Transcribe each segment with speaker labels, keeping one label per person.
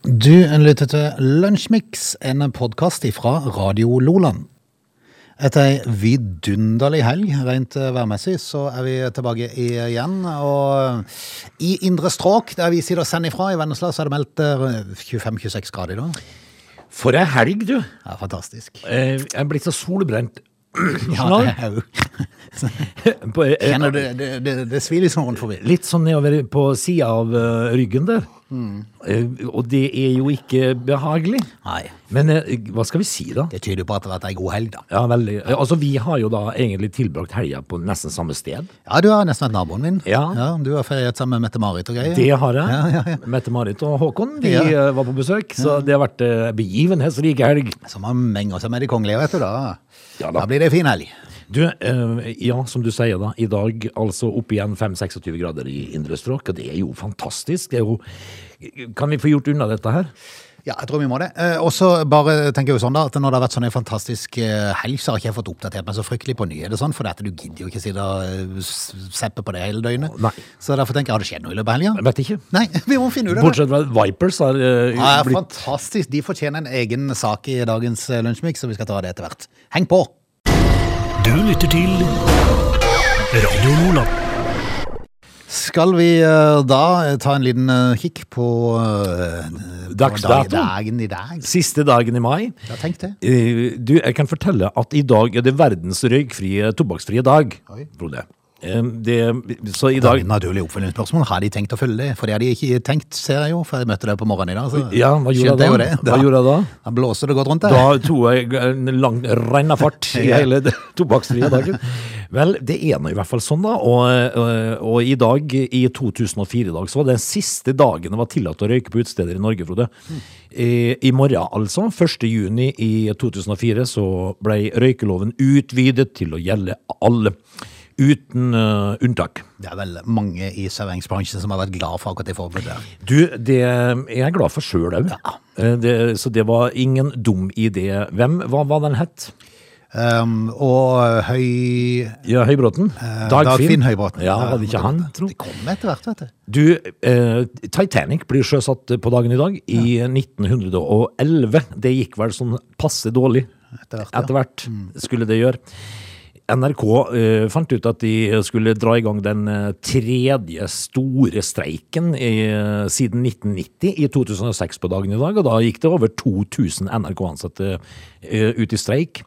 Speaker 1: Du lytter til Lunsjmix, en podkast fra Radio Loland. Etter ei vidunderlig helg rent eh, værmessig, så er vi tilbake i- eh, igjen. Og i indre strøk, der vi sitter og sender ifra i Vennesla, så er det meldt eh, 25-26 grader i dag.
Speaker 2: For ei helg, du.
Speaker 1: Ja, fantastisk.
Speaker 2: Eh, Jeg er blitt så solbrent.
Speaker 1: Ja,
Speaker 2: Snarl.
Speaker 1: det er jo
Speaker 2: På, eh,
Speaker 1: Kjenner det, det, det, det svir litt sånn rundt forbi.
Speaker 2: Litt sånn nedover på sida av eh, ryggen der. Eh, Og det er jo ikke behagelig.
Speaker 1: Nei.
Speaker 2: Men eh, hva skal vi si, da?
Speaker 1: Det tyder jo på at det har vært ei god helg, da.
Speaker 2: Ja, veldig. Eh, Altså, vi har jo da egentlig tilbrakt helga på nesten samme sted.
Speaker 1: Ja, du har nesten vært naboen min.
Speaker 2: Ja.
Speaker 1: Du har feriert sammen med Mette-Marit og greier.
Speaker 2: Det har jeg.
Speaker 1: Ja, ja, ja.
Speaker 2: Mette-Marit og Håkon de
Speaker 1: Ja.
Speaker 2: eh, var på besøk, så det har vært eh, begivenhetsrik helg.
Speaker 1: Så man menger seg med de kongelige, vet du da.
Speaker 2: Ja
Speaker 1: Da
Speaker 2: da.
Speaker 1: blir det fin helg.
Speaker 2: Du, eh, ja, som du sier da, i dag altså opp igjen 5-26 grader i indre strøk, og det er jo fantastisk. Det er jo, kan vi få gjort unna dette her?
Speaker 1: Ja, jeg tror vi må det. Eh, Og så bare tenker jeg jo sånn da, at når det har vært sånn en fantastisk eh, helg, så har ikke jeg fått oppdatert meg så fryktelig på nyheter sånn, for dette, du gidder jo ikke sitte og eh, s- seppe på det hele døgnet.
Speaker 2: Nei.
Speaker 1: Så derfor tenker jeg, har det skjedd noe i løpet av helgen?
Speaker 2: Jeg vet ikke.
Speaker 1: Nei, vi må finne ut av det.
Speaker 2: Bortsett fra at Vipers har eh,
Speaker 1: Ja, ja,
Speaker 2: blitt...
Speaker 1: fantastisk. De fortjener en egen sak i dagens eh, lunsjmix, så vi skal ta det etter hvert. Heng på!
Speaker 3: Du lytter til Radio Lola.
Speaker 1: Skal vi eh, da eh, ta en liten eh, kikk på eh,
Speaker 2: Dagsdato.
Speaker 1: på dag- Dagen i dag.
Speaker 2: Siste dagen i mai.
Speaker 1: Ja, tenk det.
Speaker 2: Eh, Du, jeg kan fortelle at i dag er det verdens røykfrie, tobakksfrie dag,
Speaker 1: Oi.
Speaker 2: Frode. Eh, Det, så i
Speaker 1: Da
Speaker 2: dag...
Speaker 1: er det naturlig oppfølgingsspørsmål. Har de tenkt å følge det? For det har de ikke tenkt, ser jeg jo, for jeg møtte deg på morgenen i dag. Så
Speaker 2: Ja, hva gjorde
Speaker 1: skjønte
Speaker 2: jeg
Speaker 1: jo
Speaker 2: da?
Speaker 1: det.
Speaker 2: Hva gjorde jeg da?
Speaker 1: Da blåser det godt rundt
Speaker 2: Da
Speaker 1: der.
Speaker 2: tok jeg en lang rennafart i
Speaker 1: Ja.
Speaker 2: hele tobakksfrie dagen. Vel, det er nå i hvert fall sånn, da. Og, eh, og, og i dag, i 2004 i dag, så var det den siste dagen det var tillatt å røyke på utesteder i Norge, Frode. I, I morgen, altså, 1. juni i 2004, så ble røykeloven utvidet til å gjelde alle. Uten eh, unntak.
Speaker 1: Det er vel mange i serveringsbransjen som har vært glad for akkurat det forbudet. der.
Speaker 2: Du, det er jeg glad for sjøl òg. Så det var ingen dum idé. Hvem hva var den het?
Speaker 1: Um, og Høy...
Speaker 2: Ja, Høybråten.
Speaker 1: Eh, Dagfinn Høybråten.
Speaker 2: Ja, var det ikke han, tro?
Speaker 1: Det kom etter hvert, vet du.
Speaker 2: Du, eh, Titanic blir sjøsatt eh, på dagen i dag i 1911. Det gikk vel sånn passe dårlig.
Speaker 1: Etter hvert, ja. Mm.
Speaker 2: Etter hvert skulle det gjøre. NRK eh, fant ut at de skulle dra i gang den eh, tredje store streiken i, eh, siden 1990, i 2006 på dagen i dag. Og da gikk det over 2000 NRK-ansatte eh, ut i streik.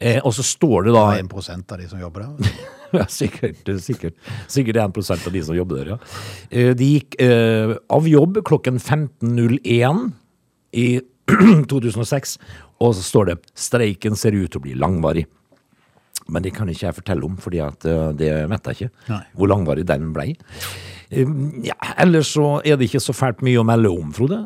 Speaker 2: Eh, og så står det da
Speaker 1: 1 av de som jobber der.
Speaker 2: ja, sikkert, sikkert. Sikkert 1 av de som jobber der, ja. Eh, De gikk eh, av jobb klokken 15.01 i 2006, og så står det 'streiken ser ut til å bli langvarig'. Men det kan ikke jeg fortelle om, fordi at eh, det vet jeg ikke
Speaker 1: Nei.
Speaker 2: hvor langvarig den blei. Eh, Ja, ellers så er det ikke så fælt mye å melde om, Frode.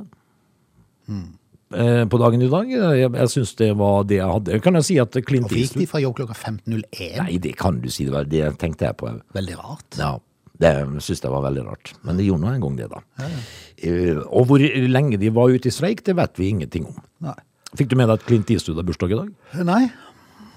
Speaker 1: Hmm.
Speaker 2: Eh, På dagen i dag. Jeg, jeg syns det var det jeg hadde. Kan jeg si at Clint
Speaker 1: Og fikk
Speaker 2: Eastwood
Speaker 1: de fra jobb klokka 15.01.
Speaker 2: Nei, det kan du si. Det var det jeg tenkte jeg på.
Speaker 1: Veldig rart.
Speaker 2: Ja, det syns jeg var veldig rart. Men det gjorde nå en gang det, da. Eh, og hvor lenge de var ute i streik, det vet vi ingenting om.
Speaker 1: Nei.
Speaker 2: Fikk du med deg at Clint Eastwood har bursdag i dag?
Speaker 1: Nei.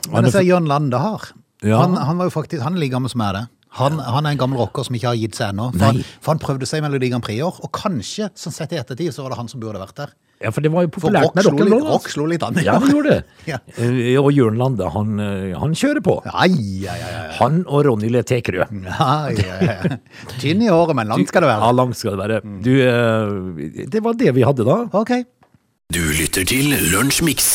Speaker 1: Men jeg ser Jørn Lande har.
Speaker 2: Ja.
Speaker 1: Han, han var jo faktisk, han er like gammel som jeg er det. Han, han er en gammel rocker som ikke har gitt seg ennå. For, han- for han prøvde seg i Melodi Grand Prix i år, og kanskje, sånn sett i ettertid, så var det han som burde vært der.
Speaker 2: Ja, for det var jo
Speaker 1: For
Speaker 2: populært
Speaker 1: rock
Speaker 2: med
Speaker 1: slo, litt,
Speaker 2: rock'n'roll.
Speaker 1: rock
Speaker 2: altså.
Speaker 1: slo litt an. i
Speaker 2: Ja,
Speaker 1: år.
Speaker 2: det gjorde det.
Speaker 1: Ja.
Speaker 2: Eh, og Jørn Lande, han, eh, han kjører på.
Speaker 1: Ai, ai, ai, ai.
Speaker 2: Han og Ronny Le Tekerø.
Speaker 1: Ai, ai, ai. Tynn i håret, men langt Sånn skal det
Speaker 2: Ja,
Speaker 1: være. Mm.
Speaker 2: langt skal det være. Du, eh, det var det vi hadde da.
Speaker 1: Ok.
Speaker 3: Du lytter til Lunsjmix.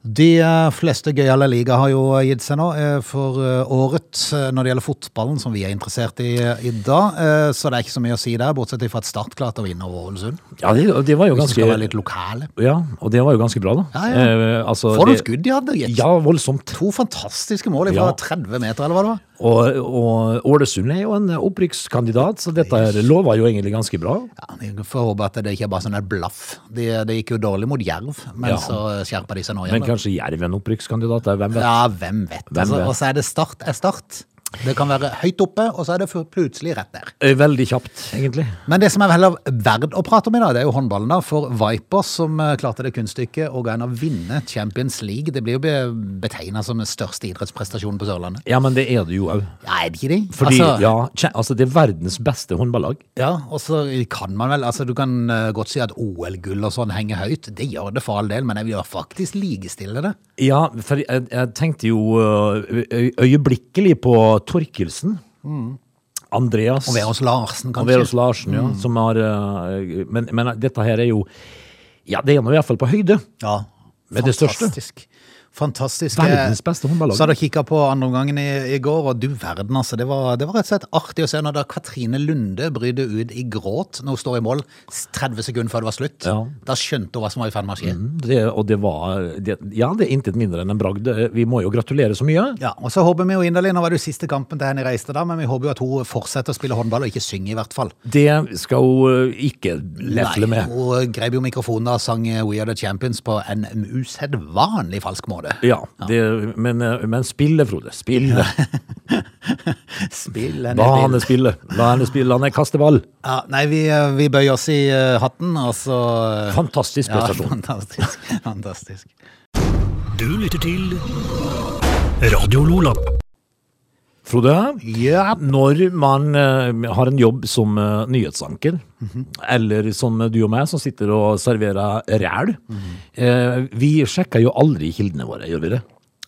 Speaker 1: De eh, fleste gøyale liga har jo gitt seg nå eh, for eh, året eh, når det gjelder fotballen, som vi er interessert i eh, i dag. Eh, Så det er ikke så mye å si der, bortsett fra at Start klarte å vinne over Ålesund.
Speaker 2: Ja, det, det var jo
Speaker 1: Hvis vi skal være
Speaker 2: ganske
Speaker 1: litt lokale.
Speaker 2: Ja, og det var jo ganske bra, da.
Speaker 1: Ja, ja.
Speaker 2: Eh, altså,
Speaker 1: For noen
Speaker 2: det-
Speaker 1: skudd de hadde, gitt.
Speaker 2: Ja, voldsomt.
Speaker 1: To fantastiske mål fra
Speaker 2: Ja.
Speaker 1: 30 meter, eller hva det var.
Speaker 2: Og, og Ålesund er jo en opprykkskandidat, så dette her lover jo egentlig ganske bra.
Speaker 1: Ja, Vi får håpe at det ikke er bare sånn et blaff. Det, det gikk jo dårlig mot Jerv, men
Speaker 2: Ja.
Speaker 1: så skjerpa de seg nå
Speaker 2: Men
Speaker 1: igjen. da.
Speaker 2: kanskje Jerv er en opprykkskandidat? der, Hvem vet?
Speaker 1: Ja, hvem vet.
Speaker 2: Hvem
Speaker 1: Altså,
Speaker 2: vet?
Speaker 1: og så er det Start er Start. Det kan være høyt oppe, og så er det plutselig rett der.
Speaker 2: Eh, Veldig kjapt, egentlig.
Speaker 1: Men det som er heller verdt å prate om i dag, det er jo håndballen. da, For Vipers, som eh, klarte det kunststykket å gå inn og vinne Champions League, det blir jo be- betegnet som den største idrettsprestasjonen på Sørlandet.
Speaker 2: Ja, men det er det jo òg.
Speaker 1: Ja, er det ikke det?
Speaker 2: Fordi,
Speaker 1: Altså,
Speaker 2: ja, tje- altså det er verdens beste håndballag.
Speaker 1: ja, og så kan man vel altså Du kan eh, godt si at OL-gull og sånn henger høyt. Det gjør det for all del, men jeg vil jo faktisk likestille det.
Speaker 2: Ja, for jeg, jeg tenkte jo ø- ø- øyeblikkelig på Torkelsen. Mm. Andreas. Mm.
Speaker 1: Og Verås Larsen,
Speaker 2: Og
Speaker 1: kanskje.
Speaker 2: Veros Larsen, ja. Som har ø, men, men dette her er jo Ja, det er nå i hvert fall på høyde.
Speaker 1: Ja.
Speaker 2: Med det største.
Speaker 1: Fantastisk. Fantastisk.
Speaker 2: Verdens beste håndballag.
Speaker 1: Så hadde jeg kikka på andreomgangen i, i går, og du verden, altså. Det var, det var rett og slett artig å se når da Katrine Lunde brydde ut i gråt når hun står i mål 30 sekunder før det var slutt.
Speaker 2: Ja.
Speaker 1: Da skjønte hun hva som var i ferd med å skje.
Speaker 2: Det, og det var det, Ja, det er intet mindre enn en bragd. Vi må jo gratulere så mye.
Speaker 1: Ja, og så håper vi jo inderlig, Nå var det jo siste kampen til henne i Reistad, men vi håper jo at hun fortsetter å spille håndball og ikke synge, i hvert fall.
Speaker 2: Det skal hun ø, ikke lefle med.
Speaker 1: Hun grep jo mikrofonen da og sang eh, We Are The Champions på en usedvanlig falsk måte.
Speaker 2: Ja, det, men, ø, men spille, Frode. Spille.
Speaker 1: Spill en
Speaker 2: La
Speaker 1: del.
Speaker 2: henne spille. La henne spille. La henne kaste ball.
Speaker 1: Ja, nei, vi, vi bøyer oss i eh, hatten, og så eh,
Speaker 2: Fantastisk
Speaker 1: Ja,
Speaker 2: prestasjon.
Speaker 1: fantastisk. fantastisk.
Speaker 3: Du lytter til Radio Lola.
Speaker 2: Frode,
Speaker 1: Ja.
Speaker 2: når man eh, har en jobb som eh, nyhetsanker, eller som du og meg som sitter og serverer ræl, eh, vi sjekker jo aldri kildene våre, gjør vi det?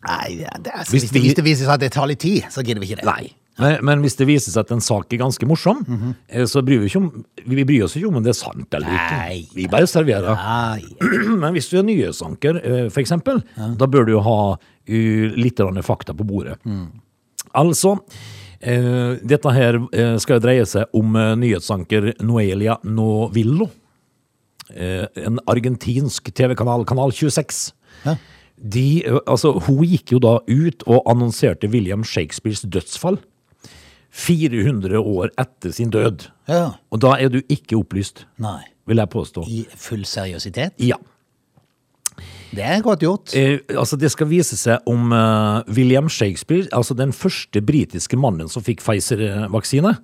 Speaker 1: Nei, ja, det er,
Speaker 2: Hvis
Speaker 1: hvis,
Speaker 2: vi-
Speaker 1: hvis det viser seg at det tar litt tid, så gidder vi ikke det.
Speaker 2: Nei. Men, men hvis det viser seg at en sak er ganske morsom, eh, så bryr vi, ikke om, vi bryr oss ikke om om det er sant
Speaker 1: Nei.
Speaker 2: eller ikke. Vi bare serverer.
Speaker 1: Nei.
Speaker 2: Men hvis du er nyhetsanker, eh, for eksempel, da bør du jo ha eh, litt grann fakta på bordet. Altså, eh, dette her eh, skal jo dreie seg om eh, nyhetsanker Noelia Novillo. Eh, En argentinsk TV-kanal, Kanal 26.
Speaker 1: Ja.
Speaker 2: De, eh, altså, hun gikk jo da ut og annonserte William Shakespeares dødsfall 400 år etter sin død.
Speaker 1: Ja.
Speaker 2: Og da er du ikke opplyst,
Speaker 1: Nei.
Speaker 2: vil jeg påstå.
Speaker 1: I full seriøsitet.
Speaker 2: Ja.
Speaker 1: Det er godt gjort.
Speaker 2: Eh, altså Det skal vise seg om eh, William Shakespeare, altså den første britiske mannen som fikk Pfizer-vaksine.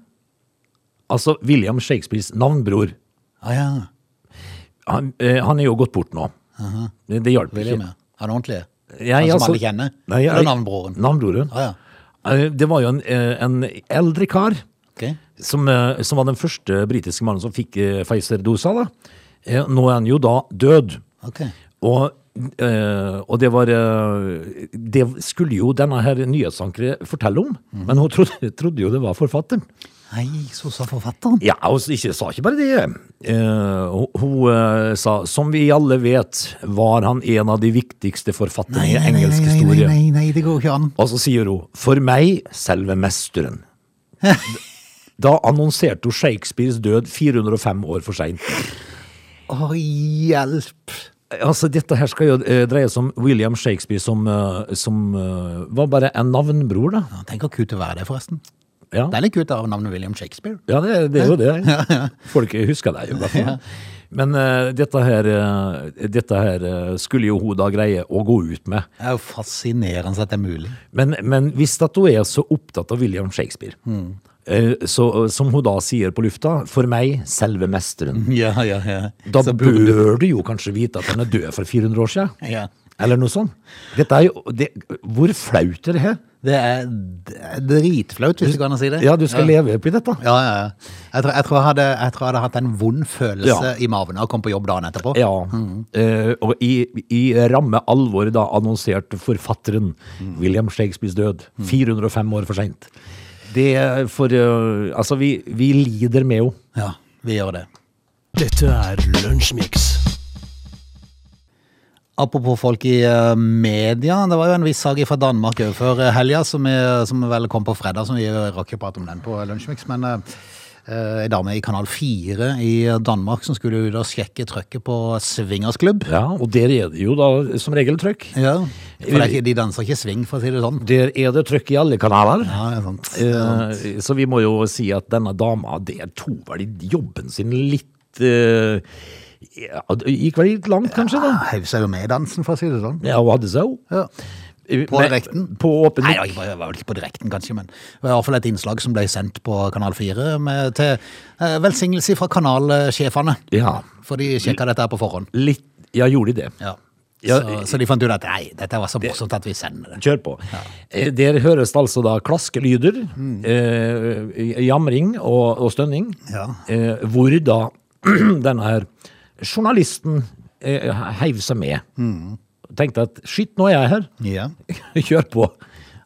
Speaker 2: Altså William Shakespeares navnbror.
Speaker 1: Ah, ja.
Speaker 2: Han, eh, han er jo gått bort nå. Det, det hjalp
Speaker 1: William,
Speaker 2: ikke.
Speaker 1: ja. Han ordentlige?
Speaker 2: Ja,
Speaker 1: Han
Speaker 2: ja,
Speaker 1: som
Speaker 2: så-
Speaker 1: alle kjenner?
Speaker 2: Nei, ja,
Speaker 1: Eller navnbroren?
Speaker 2: Navnbroren.
Speaker 1: Ah, ja.
Speaker 2: Eh, Det var jo en, eh, en eldre kar
Speaker 1: Ok.
Speaker 2: som, eh, som var den første britiske mannen som fikk eh, Pfizer-dosa. da. Eh, Nå er han jo da død.
Speaker 1: ok.
Speaker 2: Og, eh, og det var eh, Det skulle jo denne her nyhetsankeret fortelle om, men hun trodde, trodde jo det var forfatteren.
Speaker 1: Nei, så sa forfatteren.
Speaker 2: Ja, hun s- ikke, sa ikke bare det. Eh, hun hun eh, sa som vi alle vet, var han en av de viktigste forfatterne i engelsk
Speaker 1: nei, nei,
Speaker 2: historie.
Speaker 1: nei, nei, det går ikke an.
Speaker 2: Og så sier hun for meg selve mesteren. Da annonserte hun Shakespeares død 405 år for seint.
Speaker 1: Å, hjelp.
Speaker 2: Altså, dette her skal jo eh, dreie seg om William Shakespeare, som, eh, som eh, var bare en navnbror, da.
Speaker 1: Ja, Tenk hvor kult å være det, forresten.
Speaker 2: Ja,
Speaker 1: Det er litt kult av navnet William Shakespeare.
Speaker 2: ja det, det er jo det. Folk husker deg jo, i hvert fall. Men eh, dette her, eh, dette her eh, skulle jo hun da greie å gå ut med.
Speaker 1: Det er jo fascinerende at det er mulig.
Speaker 2: Men, men hvis at hun er så opptatt av William Shakespeare, eh, så, som hun da sier på lufta, for meg selve mesteren,
Speaker 1: Ja, ja, ja.
Speaker 2: da
Speaker 1: Mm. Så
Speaker 2: bør du... jo kanskje vite at han er død for 400 år siden.
Speaker 1: Ja.
Speaker 2: Eller noe sånt. Dette er jo, det, hvor flaut er det her?
Speaker 1: Det er det er dritflaut, hvis du kan si det.
Speaker 2: Ja, du skal leve oppi dette.
Speaker 1: Ja, ja, ja. Jeg tror jeg, tror jeg, hadde, jeg tror jeg hadde hatt en vond følelse
Speaker 2: Ja.
Speaker 1: i maven av å komme på jobb dagen etterpå.
Speaker 2: Ja,
Speaker 1: Mm.
Speaker 2: eh, og i, i ramme alvor da annonserte forfatteren
Speaker 1: Mm.
Speaker 2: William Shakespeares død 405 år for sent. Det er for eh, Altså, vi, vi lider med henne.
Speaker 1: Ja, vi gjør det.
Speaker 3: Dette er Lunsjmix.
Speaker 1: Apropos folk i eh, media, det var jo en viss sag fra Danmark òg før eh, helga, som, er- som vel kom på fredag, som vi rakk å prate om den på Lunsjmix. Men eh, eh, ei dame i Kanal 4 i Danmark som skulle ut og sjekke trøkket på swingersklubb.
Speaker 2: Ja, og der er det jo da som regel trøkk.
Speaker 1: Ja, for det er ikke, de danser ikke swing, for å si det sånn.
Speaker 2: Der er det trøkk i alle kanaler.
Speaker 1: Ja, det er sant.
Speaker 2: Eh, så vi må jo si at denne dama, det tok vel i jobben sin litt eh, ja, det Gikk vel litt langt, kanskje, da?
Speaker 1: Hev seg jo med i dansen, for å si det sånn.
Speaker 2: Ja, hun hadde seg jo.
Speaker 1: Ja. På
Speaker 2: Men-
Speaker 1: direkten?
Speaker 2: På åpen
Speaker 1: Nei,
Speaker 2: mikk.
Speaker 1: det var vel ikke på direkten, kanskje, men det var i hvert fall et innslag som ble sendt på Kanal 4 med, til eh, velsignelse fra kanalsjefene.
Speaker 2: Ja.
Speaker 1: For de sjekka dette her på forhånd.
Speaker 2: Litt Ja, gjorde de det?
Speaker 1: Ja.
Speaker 2: Ja,
Speaker 1: så, så de fant ut at nei, dette var så morsomt at vi sender det.
Speaker 2: Kjør på. Eh, Der høres det altså da klaskelyder,
Speaker 1: Mm.
Speaker 2: eh, jamring og, og stønning,
Speaker 1: Ja.
Speaker 2: eh, hvor da denne her journalisten eh, heiv seg med.
Speaker 1: Mm.
Speaker 2: Tenkte at shit, nå er jeg her,
Speaker 1: Ja.
Speaker 2: kjør på.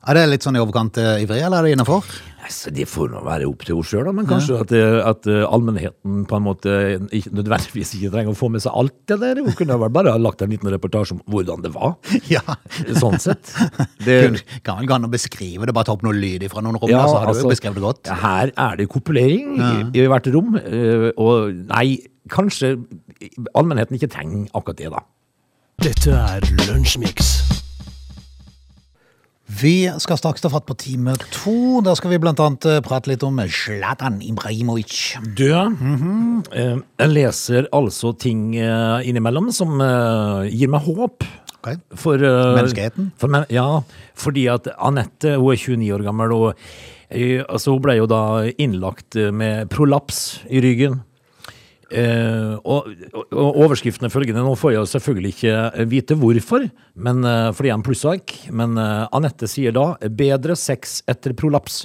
Speaker 1: Er det litt sånn i overkant eh, ivrig, eller er det innafor?
Speaker 2: Altså, det får nå være opp til henne sjøl, men kanskje at, eh, at eh, allmennheten på en måte ikke, nødvendigvis ikke trenger å få med seg alt det der. Hun kunne vel bare ha lagt en liten reportasje om hvordan det var,
Speaker 1: Ja.
Speaker 2: sånn sett.
Speaker 1: Kun, kan vel gå an å beskrive det, bare ta opp noe lyd ifra noen rom, da, så Altså, har du jo beskrevet det godt.
Speaker 2: ja, altså, Her er det kopulering i, i hvert rom, eh, og nei, kanskje allmennheten ikke trenger akkurat det, da.
Speaker 3: Dette er Lunsjmix.
Speaker 1: Vi skal straks ta fatt på time to. Da skal vi blant annet eh, prate litt om Zlatan Ibrahimovic.
Speaker 2: Du, eh, jeg leser altså ting eh, innimellom som eh, gir meg håp.
Speaker 1: Ok.
Speaker 2: For, eh,
Speaker 1: Menneskeheten?
Speaker 2: For, men- ja, fordi at Anette, hun er 29 år gammel, og eh, altså, hun ble jo da innlagt eh, med prolaps i ryggen. Eh, og, og- og overskriften er følgende, nå får jeg jo selvfølgelig ikke eh, vite hvorfor, men, eh, fordi jeg er en plussak, men eh, Anette sier da 'bedre sex etter prolaps'.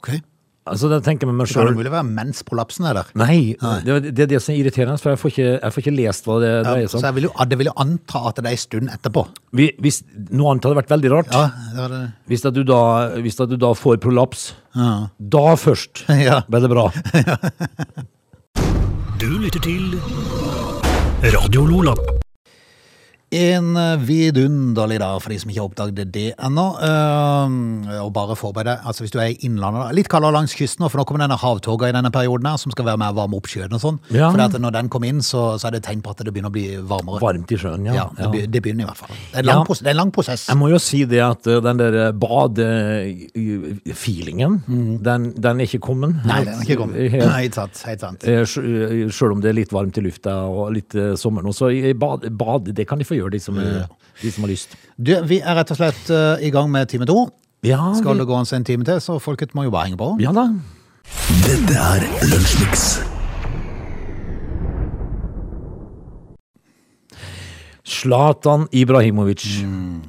Speaker 1: Ok. Det
Speaker 2: Altså, det tenker jeg med meg
Speaker 1: kan
Speaker 2: selv.
Speaker 1: umulig være mens prolapsen er der.
Speaker 2: Nei, Det, det er det som er irriterende, for jeg får ikke, jeg får ikke lest hva det dreier
Speaker 1: Så
Speaker 2: seg om.
Speaker 1: jeg vil jo, ah, det vil jo anta at det er en stund etterpå.
Speaker 2: Vi- Hvis, noe annet hadde vært veldig rart.
Speaker 1: Ja, det er det.
Speaker 2: Hvis, at du da, hvis at du da får prolaps,
Speaker 1: Ja.
Speaker 2: da først
Speaker 1: Ja.
Speaker 2: ble det bra.
Speaker 3: Du lytter til Radio Lola.
Speaker 1: En eh, vidunderlig dag for de som ikke har oppdaget det ennå. Ehm, Og bare forbered deg, altså hvis du er i innlandet, da, litt kaldere langs kysten, nå, for nå kommer denne havtoga i denne perioden her, som skal være med å varme opp sjøen og sånn.
Speaker 2: Ja.
Speaker 1: For at når den kommer inn, så, så er det tegn på at det begynner å bli varmere.
Speaker 2: Varmt i sjøen, ja.
Speaker 1: Ja, det, be- det begynner i hvert fall. Det er en
Speaker 2: Ja.
Speaker 1: lang, pros det er en lang prosess.
Speaker 2: Jeg må jo si det at eh, den der bade-feelingen, den, den er ikke kommet.
Speaker 1: Mhm. Nei, den er ikke kommet.
Speaker 2: Helt-
Speaker 1: Helt sant. Helt sant.
Speaker 2: Eh, sj- eh, Selv om det er litt varmt i lufta og litt eh, sommer nå, så i- i bad, bad, det kan de få gjøre, de som, eh, de som har lyst.
Speaker 1: Du, vi er rett og slett eh, i gang med time to.
Speaker 2: Ja,
Speaker 1: Skal
Speaker 2: vi,
Speaker 1: det gå an en time til, så folket må jo bare henge på.
Speaker 2: Mhm. ja da.
Speaker 3: Dette er Lunsjmix.
Speaker 2: Zlatan Ibrahimovic.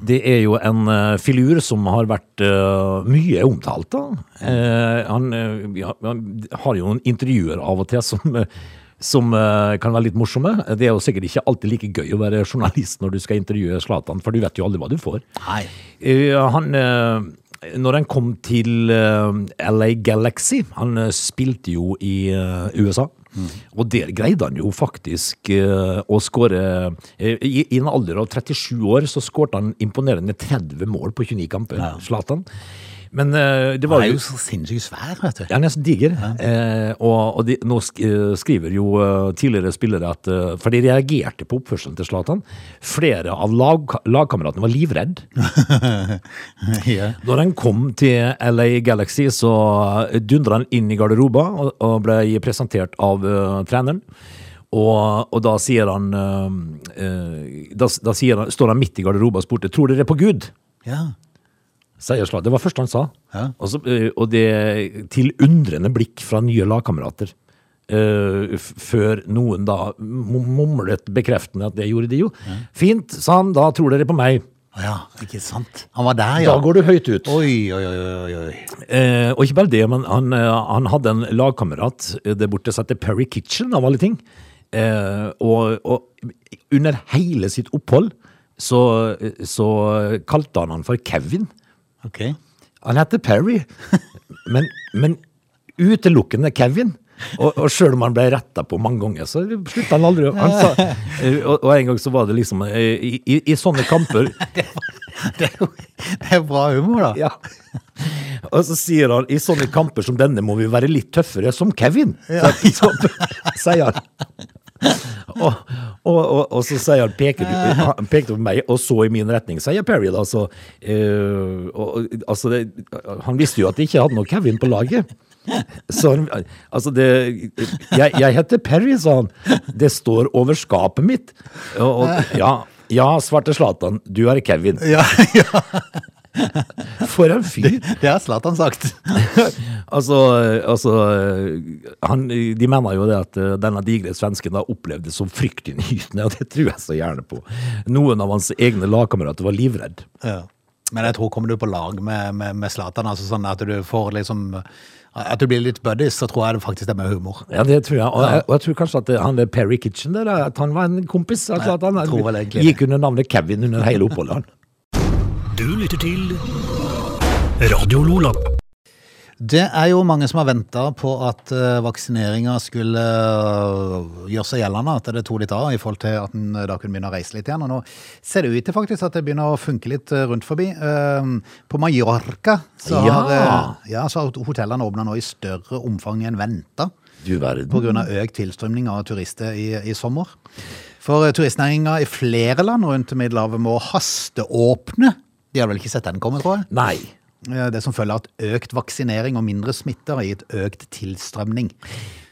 Speaker 2: Det er jo en eh, filur som har vært eh, mye omtalt. da. Eh, han, eh, ja, han har jo noen intervjuer av og til som, eh, som eh, kan være litt morsomme. Det er jo sikkert ikke alltid like gøy å være journalist når du skal intervjue Zlatan, for du vet jo aldri hva du får.
Speaker 1: Nei.
Speaker 2: Eh, han, eh, når han kom til eh, LA Galaxy, han eh, spilte jo i eh, USA, og der greide han jo faktisk eh, å skåre eh, i, I en alder av 37 år så skårte han imponerende 30 mål på 29 kamper, Zlatan. Men eh, det
Speaker 1: Han
Speaker 2: var
Speaker 1: er
Speaker 2: jo
Speaker 1: jo så sinnssykt svær, vet du.
Speaker 2: ja, nesten diger. Eh, og og de, nå sk eh, skriver jo eh, tidligere spillere at eh, For de reagerte på oppførselen til Zlatan. Flere av lag, lagkameratene var livredd.
Speaker 1: Ja.
Speaker 2: Når han kom til LA Galaxy, så dundra han inn i garderoba og, og ble presentert av eh, treneren. Og, og da sier han eh, eh, Da, da sier han, står han midt i garderoba og spurte Tror dere på Gud?
Speaker 1: ja.
Speaker 2: sier Zlatan. Det var første han sa.
Speaker 1: Ja.
Speaker 2: Og, så, eh, og det til undrende blikk fra nye lagkamerater. Eh, f- før noen da mum- mumlet bekreftende at det gjorde de jo. Fint, sa han. Da tror dere på meg.
Speaker 1: Å ja, ikke sant. Han var der, ja.
Speaker 2: Da går du høyt ut.
Speaker 1: Oi, oi, oi, oi, oi.
Speaker 2: Eh, og ikke bare det, men han, eh, han hadde en lagkamerat eh, der borte som heter Perry Kitchen, av alle ting. Eh, og, og under hele sitt opphold så, så kalte han han for Kevin.
Speaker 1: Ok.
Speaker 2: Han heter Perry, men, men utelukkende Kevin. Og, og sjøl om han ble retta på mange ganger, så slutta han aldri. å- Han sa, eh, og, og en gang så var det liksom eh, I, i, i sånne kamper
Speaker 1: Det er jo det er bra humor, da.
Speaker 2: Ja. Og så sier han i sånne kamper som denne må vi være litt tøffere, som Kevin. Så, så, sier han. Og, og, og, og så sier han, peker, du- han pekte på meg, og så i min retning, sier Perry. da, så, eh, og, altså det, Han visste jo at jeg ikke hadde noe Kevin på laget. Så han, altså det, jeg, jeg heter Perry, sa han. Det står over skapet mitt. Og, og, ja, Ja, svarte Zlatan, du er Kevin.
Speaker 1: Ja, ja,
Speaker 2: For en fyr!
Speaker 1: det har Zlatan sagt.
Speaker 2: altså, altså han, De mener jo det at eh, denne digre svensken da opplevde det som fryktinngytende, og det tror jeg så gjerne på. Noen av hans egne lagkamerater var livredd.
Speaker 1: Ja. Men jeg tror kommer du på lag med, med, med Zlatan, altså sånn at du får liksom At du blir litt buddies, så tror jeg det faktisk er med humor.
Speaker 2: Ja, det tror jeg. Og, jeg, og jeg tror kanskje at det- han der Perry Kitchen der, eh, at han var en kompis. Altså at han
Speaker 1: jeg tror vel egentlig
Speaker 2: gikk under navnet Kevin under hele oppholdet. han.
Speaker 3: Du lytter til Radio Lola.
Speaker 1: Det er jo mange som har venta på at uh, vaksineringa skulle eh, gjøre seg gjeldende, at det tok litt av i forhold til at en eh, da kunne begynne å reise litt igjen. Og nå ser det ut til faktisk at det begynner å funke litt eh, rundt forbi. Eh, på Mallorca så
Speaker 2: Ja.
Speaker 1: har, eh, ja, så har hotellene åpna nå i større omfang enn venta.
Speaker 2: Du verden.
Speaker 1: På grunn av økt tilstrømning av turister i, i sommer. For turistnæringa i flere land rundt Middelhavet må hasteåpne. De hadde vel ikke sett den komme, tror jeg.
Speaker 2: Nei.
Speaker 1: Eh, Det som følger at økt vaksinering og mindre smitte har gitt økt tilstrømning.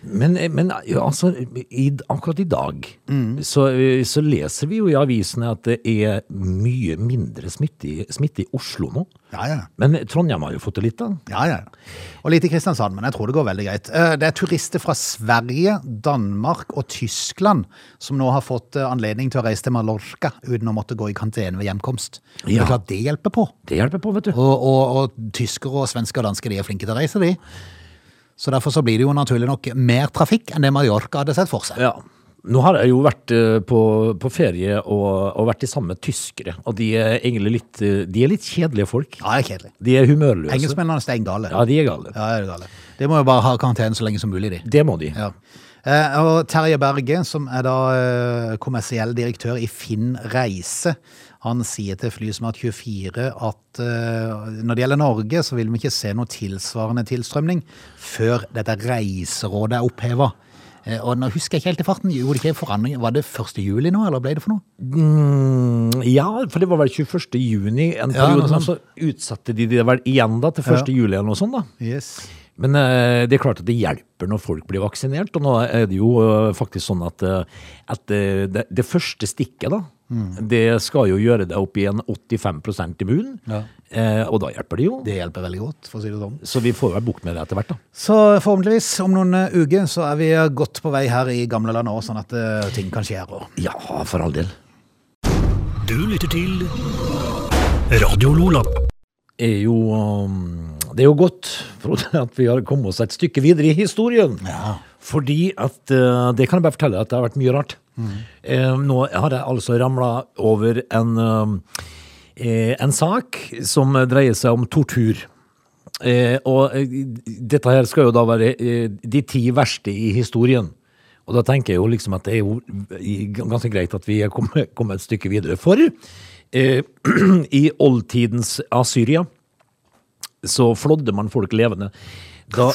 Speaker 2: Men, men ja, altså, i, akkurat i dag
Speaker 1: Mm.
Speaker 2: så, eh, så leser vi jo i avisene at det er mye mindre smitte i, smitte i Oslo nå.
Speaker 1: Ja, ja.
Speaker 2: Men Trondheim har jo fått det litt, da.
Speaker 1: Ja, ja. Og litt i Kristiansand, men jeg tror det går veldig greit. Eh, Det er turister fra Sverige, Danmark og Tyskland som nå har fått eh, anledning til å reise til Mallorca uten å måtte gå i karantene ved hjemkomst. Og Det
Speaker 2: Ja.
Speaker 1: er klart det hjelper på.
Speaker 2: Det hjelper på, vet du.
Speaker 1: Og, og, og tyskere og svensker og dansker de er flinke til å reise, de. Så derfor så blir det jo naturlig nok mer trafikk enn det Mallorca hadde sett for seg.
Speaker 2: Ja. Nå har jeg jo vært eh, på, på ferie og, og vært i samme tyskere, og de er egentlig litt, eh, de er litt kjedelige folk.
Speaker 1: Ja, det er kjedelig.
Speaker 2: De er humørløse.
Speaker 1: Engelskmennene er steingale.
Speaker 2: Ja, de er gale.
Speaker 1: Ja, det er gale. De må jo bare ha karantene så lenge som mulig, de.
Speaker 2: Det må de.
Speaker 1: Ja. Eh, Og Terje Berge, som er da eh, kommersiell direktør i Finn Reise, han sier til Flysmart 24 at eh, når det gjelder Norge, så vil vi ikke se noe tilsvarende tilstrømning før dette reiserådet er oppheva. Eh, Og nå husker jeg ikke helt i farten. Gjorde det ikke en forandring? Var det 1. juli nå, eller ble det for noe?
Speaker 2: Mm, ja, for det var vel 21. juni en
Speaker 1: Ja,
Speaker 2: periode,
Speaker 1: noe
Speaker 2: men så utsatte de det vel igjen da til 1. juli eller noe sånt da.
Speaker 1: Yes.
Speaker 2: Men eh, det er klart at det hjelper når folk blir vaksinert, og nå er det jo eh, faktisk sånn at, eh, at eh, det, det første stikket da, det skal jo gjøre deg opp i en 85 immun,
Speaker 1: Ja.
Speaker 2: eh, og da hjelper det jo.
Speaker 1: Det hjelper veldig godt, for å si det sånn.
Speaker 2: Så vi får vel bukt med det etter hvert da.
Speaker 1: Så forhåpentligvis, om noen eh, uker, så er vi eh, godt på vei her i gamlelandet òg, sånn at eh, ting kan skje her òg.
Speaker 2: Ja, for all del.
Speaker 3: Du lytter til Radio Lola.
Speaker 2: Er jo, um, det er jo godt, Frode, at vi har kommet oss et stykke videre i historien.
Speaker 1: Ja.
Speaker 2: Fordi at eh, Det kan jeg bare fortelle at det har vært mye rart. Eh, nå har jeg altså ramla over en, eh, en sak som dreier seg om tortur. Eh, og eh, dette her skal jo da være eh, de ti verste i historien. Og da tenker jeg jo liksom at det er jo i- ganske greit at vi er kommet, kommet et stykke videre. For eh, i oldtidens Asyria så flådde man folk levende. Da,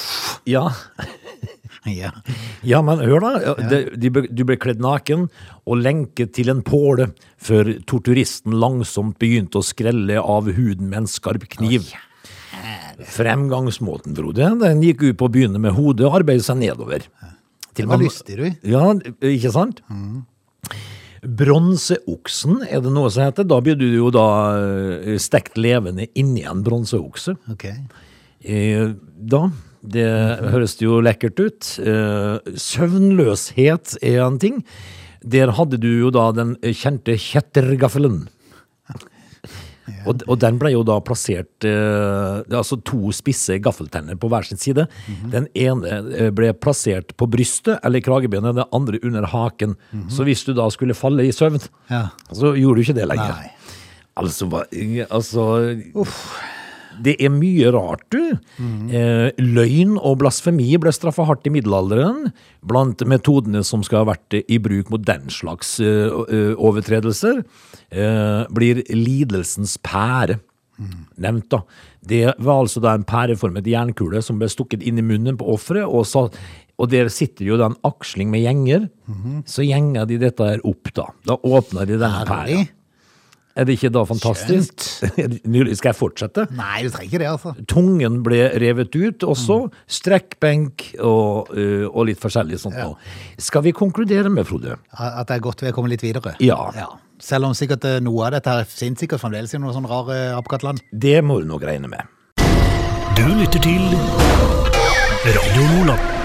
Speaker 2: ja,
Speaker 1: Ja.
Speaker 2: ja, men hør da. det- De, ble- du ble kledd naken og lenket til en påle før torturisten langsomt begynte å skrelle av huden med en skarp kniv. Fremgangsmåten, Frode, den gikk ut på å begynne med hodet og arbeide seg nedover. Til
Speaker 1: Det var
Speaker 2: man-
Speaker 1: lystig, Mm. du.
Speaker 2: Ja, ikke sant? Bronseoksen, er det noe som heter? Da blir du jo da eh, stekt levende inni en bronseokse.
Speaker 1: Ok.
Speaker 2: Eh, Da, det høres det jo lekkert ut. Eh, Søvnløshet er en ting. Der hadde du jo da den kjente kjettergaffelen. Og, og den ble jo da plassert eh, det er Altså to spisse gaffeltenner på hver sin side.
Speaker 1: Mhm.
Speaker 2: Den ene eh, ble plassert på brystet eller kragebenet, den andre under haken. Så hvis du da skulle falle i søvn,
Speaker 1: Mhm. Ja.
Speaker 2: så gjorde du ikke det lenger.
Speaker 1: Nei.
Speaker 2: Altså, hva- altså det er mye rart, du. Eh, løgn og blasfemi ble straffa hardt i middelalderen. Blant metodene som skal ha vært i bruk mot den slags eh, o- eh, overtredelser, eh, blir lidelsens pære nevnt. da. Det var altså da en pæreformet jernkule som ble stukket inn i munnen på offeret, og, sa- og der sitter jo da en aksling med gjenger. Så gjenger de dette her opp, da. Da åpner de denne pæra.
Speaker 1: Herlig.
Speaker 2: Er det ikke da fantastisk? Skal jeg fortsette?
Speaker 1: Nei, du trenger ikke det, altså.
Speaker 2: Tungen ble revet ut også. Strekkbenk og, eh, og litt forskjellig sånt. nå. Skal vi konkludere med, Frode?
Speaker 1: At det er godt vi er kommet litt videre.
Speaker 2: Ja.
Speaker 1: Selv om sikkert eh, noe av dette her finnes sikkert fremdeles i noe sånn rar eh, apekattland.
Speaker 2: Det må du nok regne med.
Speaker 3: Du lytter til Radio Loland.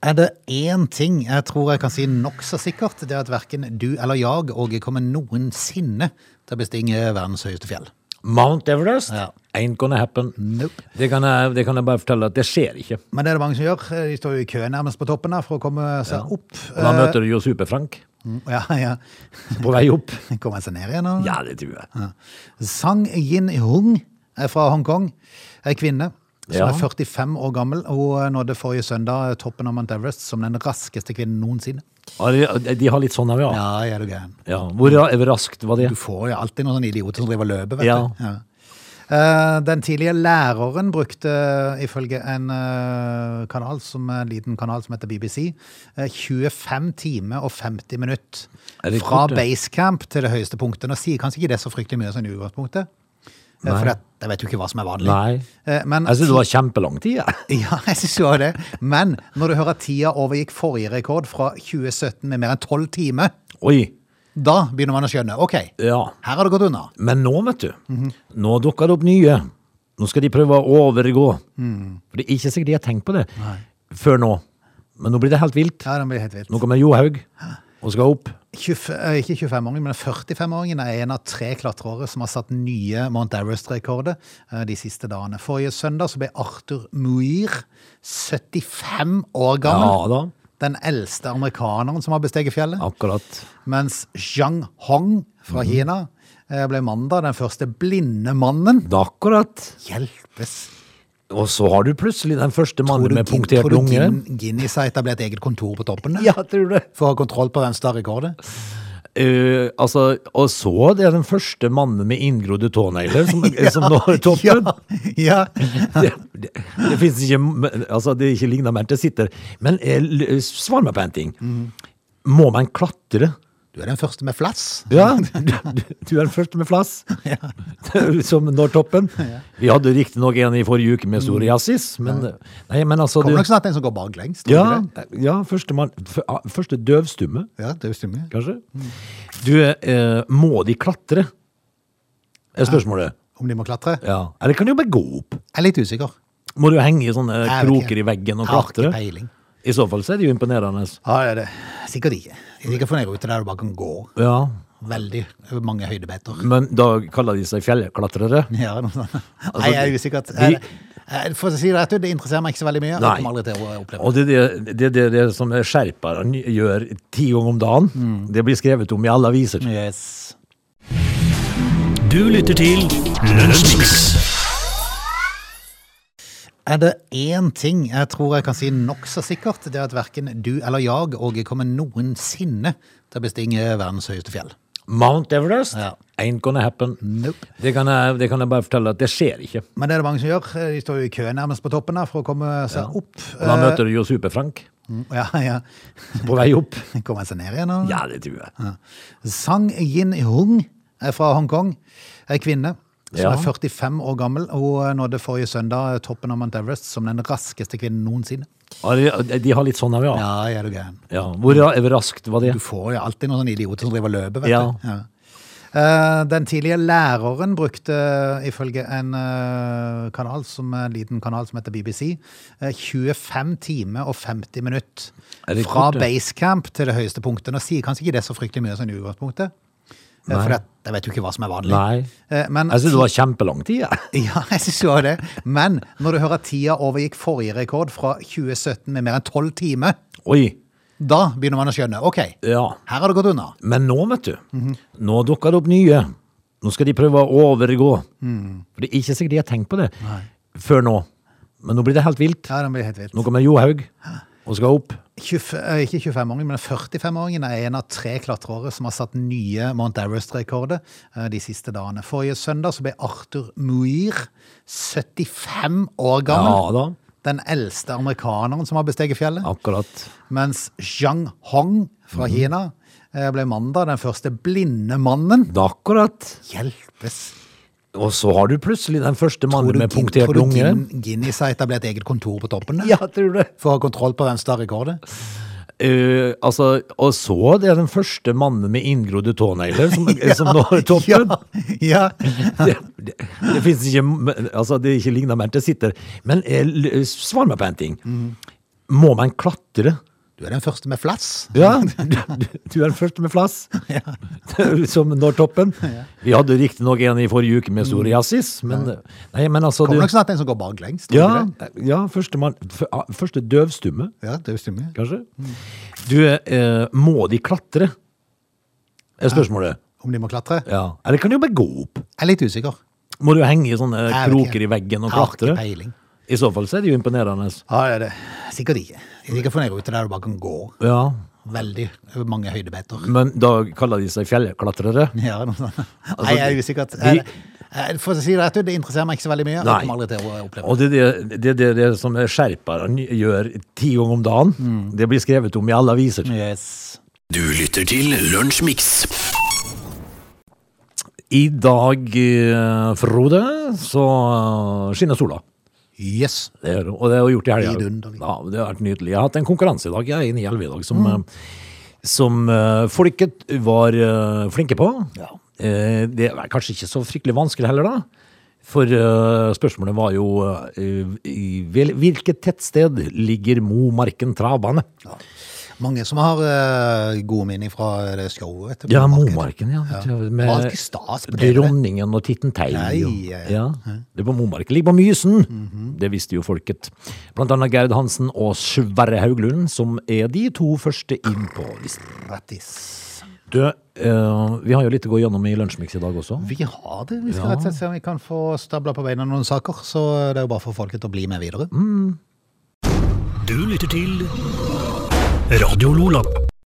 Speaker 1: Er det én ting jeg tror jeg kan si nokså sikkert, det er at verken du eller jeg og jeg kommer noensinne til å bestige verdens høyeste fjell.
Speaker 2: Mount Everest?
Speaker 1: Ja.
Speaker 2: Ain't gonna happen.
Speaker 1: Nope.
Speaker 2: Det kan, jeg, det kan jeg bare fortelle at det skjer ikke.
Speaker 1: Men det er det mange som gjør. Eh, De står jo i kø nærmest på toppen her for å komme seg opp. Eh,
Speaker 2: Og da møter du jo Super-Frank
Speaker 1: Mm, Ja, ja.
Speaker 2: på vei opp.
Speaker 1: Kommer seg ned igjen nå?
Speaker 2: Ja, det tror jeg.
Speaker 1: Sang Yin Hung er fra Hongkong. Ei kvinne som
Speaker 2: Ja.
Speaker 1: er 45 år gammel. Hun eh, nådde forrige søndag eh, toppen av Mount Everest som den raskeste kvinnen noensinne.
Speaker 2: Og de- De har litt sånn av, ja.
Speaker 1: Ja, er du gæren.
Speaker 2: ja. Hvor ra- raskt var det?
Speaker 1: Du får jo alltid noen sånne idioter som driver og løper, vet
Speaker 2: Ja.
Speaker 1: du. Ja. Eh, Den tidlige læreren brukte, ifølge en eh, kanal som, en liten kanal som heter BBC, eh, 25 timer og 50
Speaker 2: Er
Speaker 1: minutter
Speaker 2: det
Speaker 1: fra
Speaker 2: kort, det?
Speaker 1: basecamp til det høyeste punktet. Nå sier kanskje ikke det så fryktelig mye sånn i utgangspunktet, eh,
Speaker 2: Nei.
Speaker 1: for det, jeg vet jo ikke hva som er vanlig.
Speaker 2: Nei.
Speaker 1: Eh, Men,
Speaker 2: Jeg syns det var kjempelang tid, jeg.
Speaker 1: ja, jeg synes jo det. Men når du hører at tida overgikk forrige rekord fra 2017 med mer enn 12 timer,
Speaker 2: Oi.
Speaker 1: da begynner man å skjønne, ok,
Speaker 2: Ja.
Speaker 1: her har det gått unna.
Speaker 2: Men nå, vet du, nå dukker det opp nye. Nå skal de prøve å overgå. For det er ikke sikkert de har tenkt på det før nå. Men nå blir det helt vilt.
Speaker 1: Ja, den blir helt vilt.
Speaker 2: Nå kommer Johaug og skal opp.
Speaker 1: 25, eh, ikke 25-åringen, men 45-åringen er en av tre klatrere som har satt nye Mount Everest-rekorder eh, de siste dagene. Forrige søndag så ble Arthur Muir 75 år gammel.
Speaker 2: Ja da,
Speaker 1: Den eldste amerikaneren som har besteget fjellet.
Speaker 2: akkurat.
Speaker 1: Mens Zhang Hong fra
Speaker 2: Mhm.
Speaker 1: Kina eh, ble mandag den første blinde mannen.
Speaker 2: Da akkurat.
Speaker 1: Hjelpes!
Speaker 2: Og så har du plutselig den første mannen med
Speaker 1: Gin-
Speaker 2: punktert
Speaker 1: tror du
Speaker 2: lunge.
Speaker 1: Gin- Guinness har etablert eget kontor på toppen? da?
Speaker 2: Ja, tror du det?
Speaker 1: For å ha kontroll på hvem som tar rekorder?
Speaker 2: Eh, altså, og så det er den første mannen med inngrodde tånegler som, som når
Speaker 1: Ja,
Speaker 2: toppen.
Speaker 1: ja.
Speaker 2: Det, det, det finnes ikke men, Altså, det er ikke ligner mer til sitter. Men eh, l- svar meg på en ting.
Speaker 1: Mm.
Speaker 2: Må man klatre?
Speaker 1: Du er den første med flass.
Speaker 2: Ja, du, du- du er den første med flass som når toppen. Vi hadde riktignok en i forrige uke med psoriasis, men Nei, men altså
Speaker 1: Mm. Kommer
Speaker 2: du,
Speaker 1: nok snart en som går baklengs. tror
Speaker 2: ja, eh,
Speaker 1: du det?
Speaker 2: ja, første, mann- f- ah, første døvstumme,
Speaker 1: ja, det er jo stemmer.
Speaker 2: kanskje.
Speaker 1: Mm.
Speaker 2: Du, eh, må de klatre? Er spørsmålet.
Speaker 1: Om de må klatre?
Speaker 2: Ja. Eller kan de jo bare gå opp?
Speaker 1: Jeg er litt usikker.
Speaker 2: Må du henge i sånne
Speaker 1: Jeg vet ikke.
Speaker 2: kroker i veggen og
Speaker 1: Jeg har ikke
Speaker 2: klatre?
Speaker 1: peiling.
Speaker 2: I så fall så er det jo imponerende.
Speaker 1: Ja, det er det. Sikkert ikke. Jeg er sikkert for en rute der du bare kan gå
Speaker 2: Ja,
Speaker 1: veldig mange høydebeter.
Speaker 2: men da kaller de seg fjellklatrere.
Speaker 1: Ja, noe sånt.
Speaker 2: Altså,
Speaker 1: Nei, jeg er usikker. Jeg- jeg- For å si det rett ut, det interesserer meg ikke så veldig mye.
Speaker 2: Nei.
Speaker 1: Jeg kommer aldri til å oppleve
Speaker 2: Og det er det, det, er det, det som skjerperen gjør ti ganger om dagen. Det blir skrevet om i alle aviser.
Speaker 1: det. Yes.
Speaker 3: Du lytter til Lunsjmix.
Speaker 1: Er det én ting jeg tror jeg kan si nokså sikkert, det er at verken du eller jeg og jeg kommer noensinne til å bestige verdens høyeste fjell.
Speaker 2: Mount Everest
Speaker 1: Ja.
Speaker 2: ain't gonna happen.
Speaker 1: Nope.
Speaker 2: Det, kan jeg, det kan jeg bare fortelle at det skjer ikke.
Speaker 1: Men det er det mange som gjør. De står jo i kø nærmest på toppen her for å komme seg opp.
Speaker 2: Og da møter du jo Super-Frank
Speaker 1: Mm, Ja, ja.
Speaker 2: på vei opp.
Speaker 1: Kommer han seg ned igjen? Og...
Speaker 2: Ja, det tror jeg.
Speaker 1: Sang Yin Hung er fra Hongkong. Ei kvinne som
Speaker 2: Ja.
Speaker 1: er 45 år gammel. Hun eh, nådde forrige søndag eh, toppen av Mount Everest som den raskeste kvinnen noensinne.
Speaker 2: Og de, de har litt sånn av, ja.
Speaker 1: Ja, er du gæren.
Speaker 2: ja. Hvor ra- raskt var det?
Speaker 1: Du får jo alltid noen sånne idioter som driver og løper, vet
Speaker 2: Ja.
Speaker 1: du. Ja. Eh, Den tidlige læreren brukte, ifølge en eh, kanal som, en liten kanal som heter BBC, eh, 25 timer og 50
Speaker 2: Er
Speaker 1: minutter
Speaker 2: det
Speaker 1: fra
Speaker 2: kort, det?
Speaker 1: basecamp til det høyeste punktet. Nå sier kanskje ikke det så fryktelig mye sånn i utgangspunktet, eh, for det, jeg vet jo ikke hva som er vanlig.
Speaker 2: Nei.
Speaker 1: Eh, Men,
Speaker 2: Jeg syns det var kjempelang tid, jeg.
Speaker 1: ja, jeg synes jo det. Men når du hører at tida overgikk forrige rekord fra 2017 med mer enn 12 timer,
Speaker 2: Oi.
Speaker 1: da begynner man å skjønne, ok,
Speaker 2: Ja.
Speaker 1: her har det gått unna.
Speaker 2: Men nå, vet du, nå dukker det opp nye. Nå skal de prøve å overgå. For det er ikke sikkert de har tenkt på det før nå. Men nå blir det helt vilt.
Speaker 1: Ja, den blir helt vilt.
Speaker 2: Nå kommer Johaug og skal opp.
Speaker 1: 25, eh, ikke 25-åringen, men 45-åringen er en av tre klatrere som har satt nye Mount Everest-rekorder eh, de siste dagene. Forrige søndag så ble Arthur Muir 75 år gammel.
Speaker 2: Ja da,
Speaker 1: Den eldste amerikaneren som har besteget fjellet.
Speaker 2: akkurat.
Speaker 1: Mens Zhang Hong fra
Speaker 2: Mhm.
Speaker 1: Kina eh, ble mandag den første blinde mannen.
Speaker 2: Da akkurat.
Speaker 1: Hjelpes!
Speaker 2: Og så har du plutselig den første mannen med
Speaker 1: Gin-
Speaker 2: punktert
Speaker 1: tror du
Speaker 2: lunge.
Speaker 1: Gin- Guinness har etablert eget kontor på toppen? eh, da?
Speaker 2: Ja, tror du det?
Speaker 1: For å ha kontroll på hvem som tar rekorder?
Speaker 2: eh, altså, og så det er den første mannen med inngrodde tånegler som, som når toppen.
Speaker 1: Ja,
Speaker 2: Det, det, det finnes ikke men- Altså, det er ikke lignende mer til sitter. Men eh, l- svar meg på en ting. Må man klatre?
Speaker 1: Du er den første med flass.
Speaker 2: Ja, du, du, du er den første med flass, som når toppen. Vi hadde riktignok en i forrige uke med psoriasis, men, nei, men altså
Speaker 1: Kommer
Speaker 2: du,
Speaker 1: nok snart en som går baklengs. tror
Speaker 2: ja,
Speaker 1: du det?
Speaker 2: ja, første, mann- f- ah, første døvstumme,
Speaker 1: ja, det er jo stemmer.
Speaker 2: kanskje. Du, eh, må de klatre? Er spørsmålet.
Speaker 1: Om de må klatre?
Speaker 2: Ja. Eller kan de jo bare gå opp?
Speaker 1: Jeg er litt usikker.
Speaker 2: Må du henge i sånne
Speaker 1: Jeg vet ikke.
Speaker 2: kroker i veggen og
Speaker 1: Jeg har ikke
Speaker 2: klatre?
Speaker 1: peiling.
Speaker 2: I så fall så er det jo imponerende.
Speaker 1: Ja, det er det. Sikkert ikke. Jeg kan få ned rute der du bare kan gå
Speaker 2: Ja,
Speaker 1: veldig mange høydemeter.
Speaker 2: men da kaller de seg fjellklatrere.
Speaker 1: Ja, noe sånt.
Speaker 2: Altså,
Speaker 1: Nei, jeg er usikker. Jeg, jeg, for å si det rett ut, det interesserer meg ikke så veldig mye. Jeg
Speaker 2: Nei.
Speaker 1: kommer aldri til å oppleve det.
Speaker 2: Og det er det, det, er det, det som skjerperne gjør ti ganger om dagen. Det blir skrevet om i alle aviser.
Speaker 1: Yes.
Speaker 3: Du lytter til Lunsjmix.
Speaker 2: I dag, eh, Frode, så eh, skinner sola.
Speaker 1: Yes.
Speaker 2: Det er, og det er jo gjort i helga.
Speaker 1: Vidunderlig.
Speaker 2: Ja, det har vært nydelig. Jeg har hatt en konkurranse i dag, jeg er inne i Elve i dag, som, eh, som eh, folket var eh, flinke på.
Speaker 1: Ja.
Speaker 2: Eh, Det var kanskje ikke så fryktelig vanskelig heller, da. For eh, spørsmålet var jo eh, i vel- hvilket tettsted ligger Momarken travbane?
Speaker 1: Ja. Mange som har eh, gode minner fra det showet. vet du, på
Speaker 2: Ja,
Speaker 1: markedet.
Speaker 2: Momarken, ja.
Speaker 1: Ja.
Speaker 2: Det
Speaker 1: Det var
Speaker 2: Med
Speaker 1: alltid stas på TV.
Speaker 2: dronningen og Titten Tei.
Speaker 1: Nei,
Speaker 2: og-
Speaker 1: ja, ja. Mhm.
Speaker 2: ja. Det er på Momarken. Ligger på Mysen! Det visste jo folket. Blant annet Gerd Hansen og Sverre Hauglund, som er de to første inn på listen.
Speaker 1: Grattis.
Speaker 2: Du, eh, vi har jo litt å gå gjennom i Lunsjmix i dag også.
Speaker 1: Vi har det. Vi skal rett og slett se om vi kan få stabla på beina noen saker. Så det er jo bare for folket å bli med videre.
Speaker 3: Du lytter til Radio Lola.